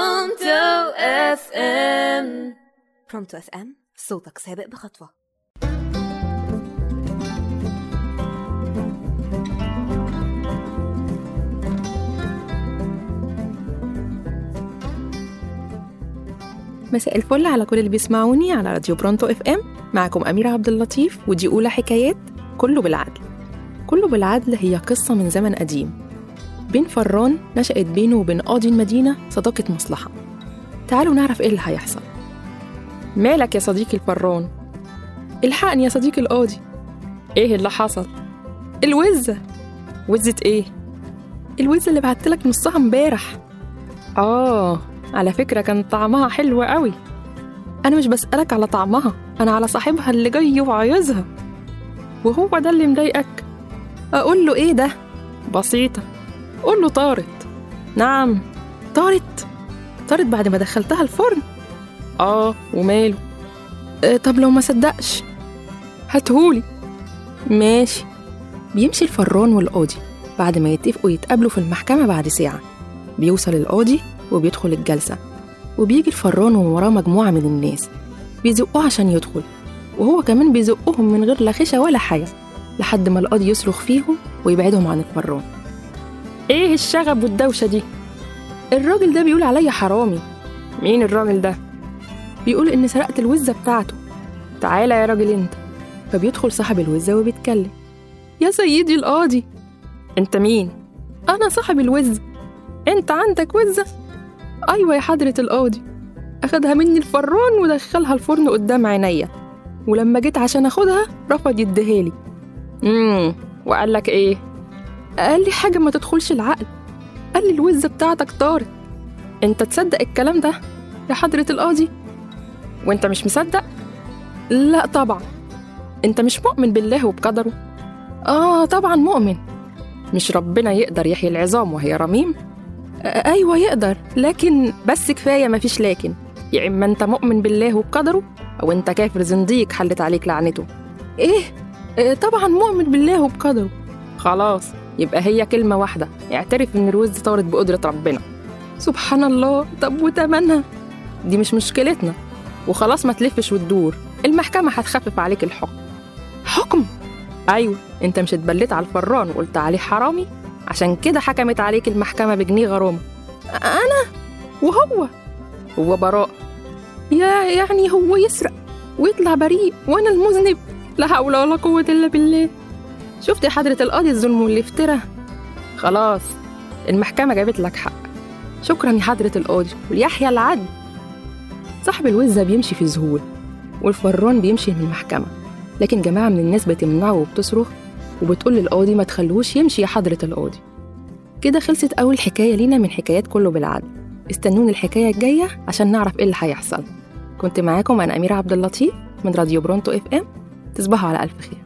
برونتو اف ام برونتو اف ام صوتك سابق بخطوه مساء الفل على كل اللي بيسمعوني على راديو برونتو اف ام معكم أميرة عبد اللطيف ودي أولى حكايات كله بالعدل كله بالعدل هي قصة من زمن قديم بين فران نشأت بينه وبين قاضي المدينة صداقة مصلحة تعالوا نعرف إيه اللي هيحصل مالك يا صديقي الفران الحقني يا صديقي القاضي إيه اللي حصل الوزة وزة إيه الوزة اللي بعتلك نصها امبارح آه على فكرة كان طعمها حلو قوي أنا مش بسألك على طعمها أنا على صاحبها اللي جاي وعايزها وهو ده اللي مضايقك أقول له إيه ده؟ بسيطة قول له طارت نعم طارت طارت بعد ما دخلتها الفرن آه وماله أه طب لو ما صدقش هاتهولي ماشي بيمشي الفران والقاضي بعد ما يتفقوا يتقابلوا في المحكمة بعد ساعة بيوصل القاضي وبيدخل الجلسة وبيجي الفران ووراه مجموعة من الناس بيزقوه عشان يدخل وهو كمان بيزقهم من غير لا خشة ولا حياة لحد ما القاضي يصرخ فيهم ويبعدهم عن الفران ايه الشغب والدوشة دي؟ الراجل ده بيقول عليا حرامي مين الراجل ده؟ بيقول إن سرقت الوزة بتاعته تعالى يا راجل انت فبيدخل صاحب الوزة وبيتكلم يا سيدي القاضي انت مين؟ أنا صاحب الوزة انت عندك وزة؟ أيوة يا حضرة القاضي أخدها مني الفران ودخلها الفرن قدام عينيا ولما جيت عشان أخدها رفض يديهالي امم وقال لك إيه؟ قال لي حاجة ما تدخلش العقل قال لي الوزة بتاعتك طارت أنت تصدق الكلام ده يا حضرة القاضي وأنت مش مصدق؟ لا طبعا أنت مش مؤمن بالله وبقدره آه طبعا مؤمن مش ربنا يقدر يحيي العظام وهي رميم آه، أيوة يقدر لكن بس كفاية مفيش لكن يا إما أنت مؤمن بالله وبقدره أو أنت كافر زنديق حلت عليك لعنته إيه؟ آه، طبعا مؤمن بالله وبقدره خلاص يبقى هي كلمة واحدة اعترف إن الوز طارت بقدرة ربنا سبحان الله طب وتمنها دي مش مشكلتنا وخلاص ما تلفش وتدور المحكمة هتخفف عليك الحكم حكم؟ أيوة أنت مش اتبليت على الفران وقلت عليه حرامي عشان كده حكمت عليك المحكمة بجنيه غرامة أنا وهو هو براء يا يعني هو يسرق ويطلع بريء وأنا المذنب لا حول ولا قوة إلا بالله شفت يا حضرة القاضي الظلم والافتراء خلاص المحكمة جابت لك حق شكرا يا حضرة القاضي وليحيى العدل صاحب الوزة بيمشي في ذهول والفران بيمشي من المحكمة لكن جماعة من الناس بتمنعه وبتصرخ وبتقول للقاضي ما تخلوش يمشي يا حضرة القاضي كده خلصت أول حكاية لينا من حكايات كله بالعدل استنوني الحكاية الجاية عشان نعرف إيه اللي هيحصل كنت معاكم أنا أميرة عبد اللطيف من راديو برونتو اف ام تصبحوا على ألف خير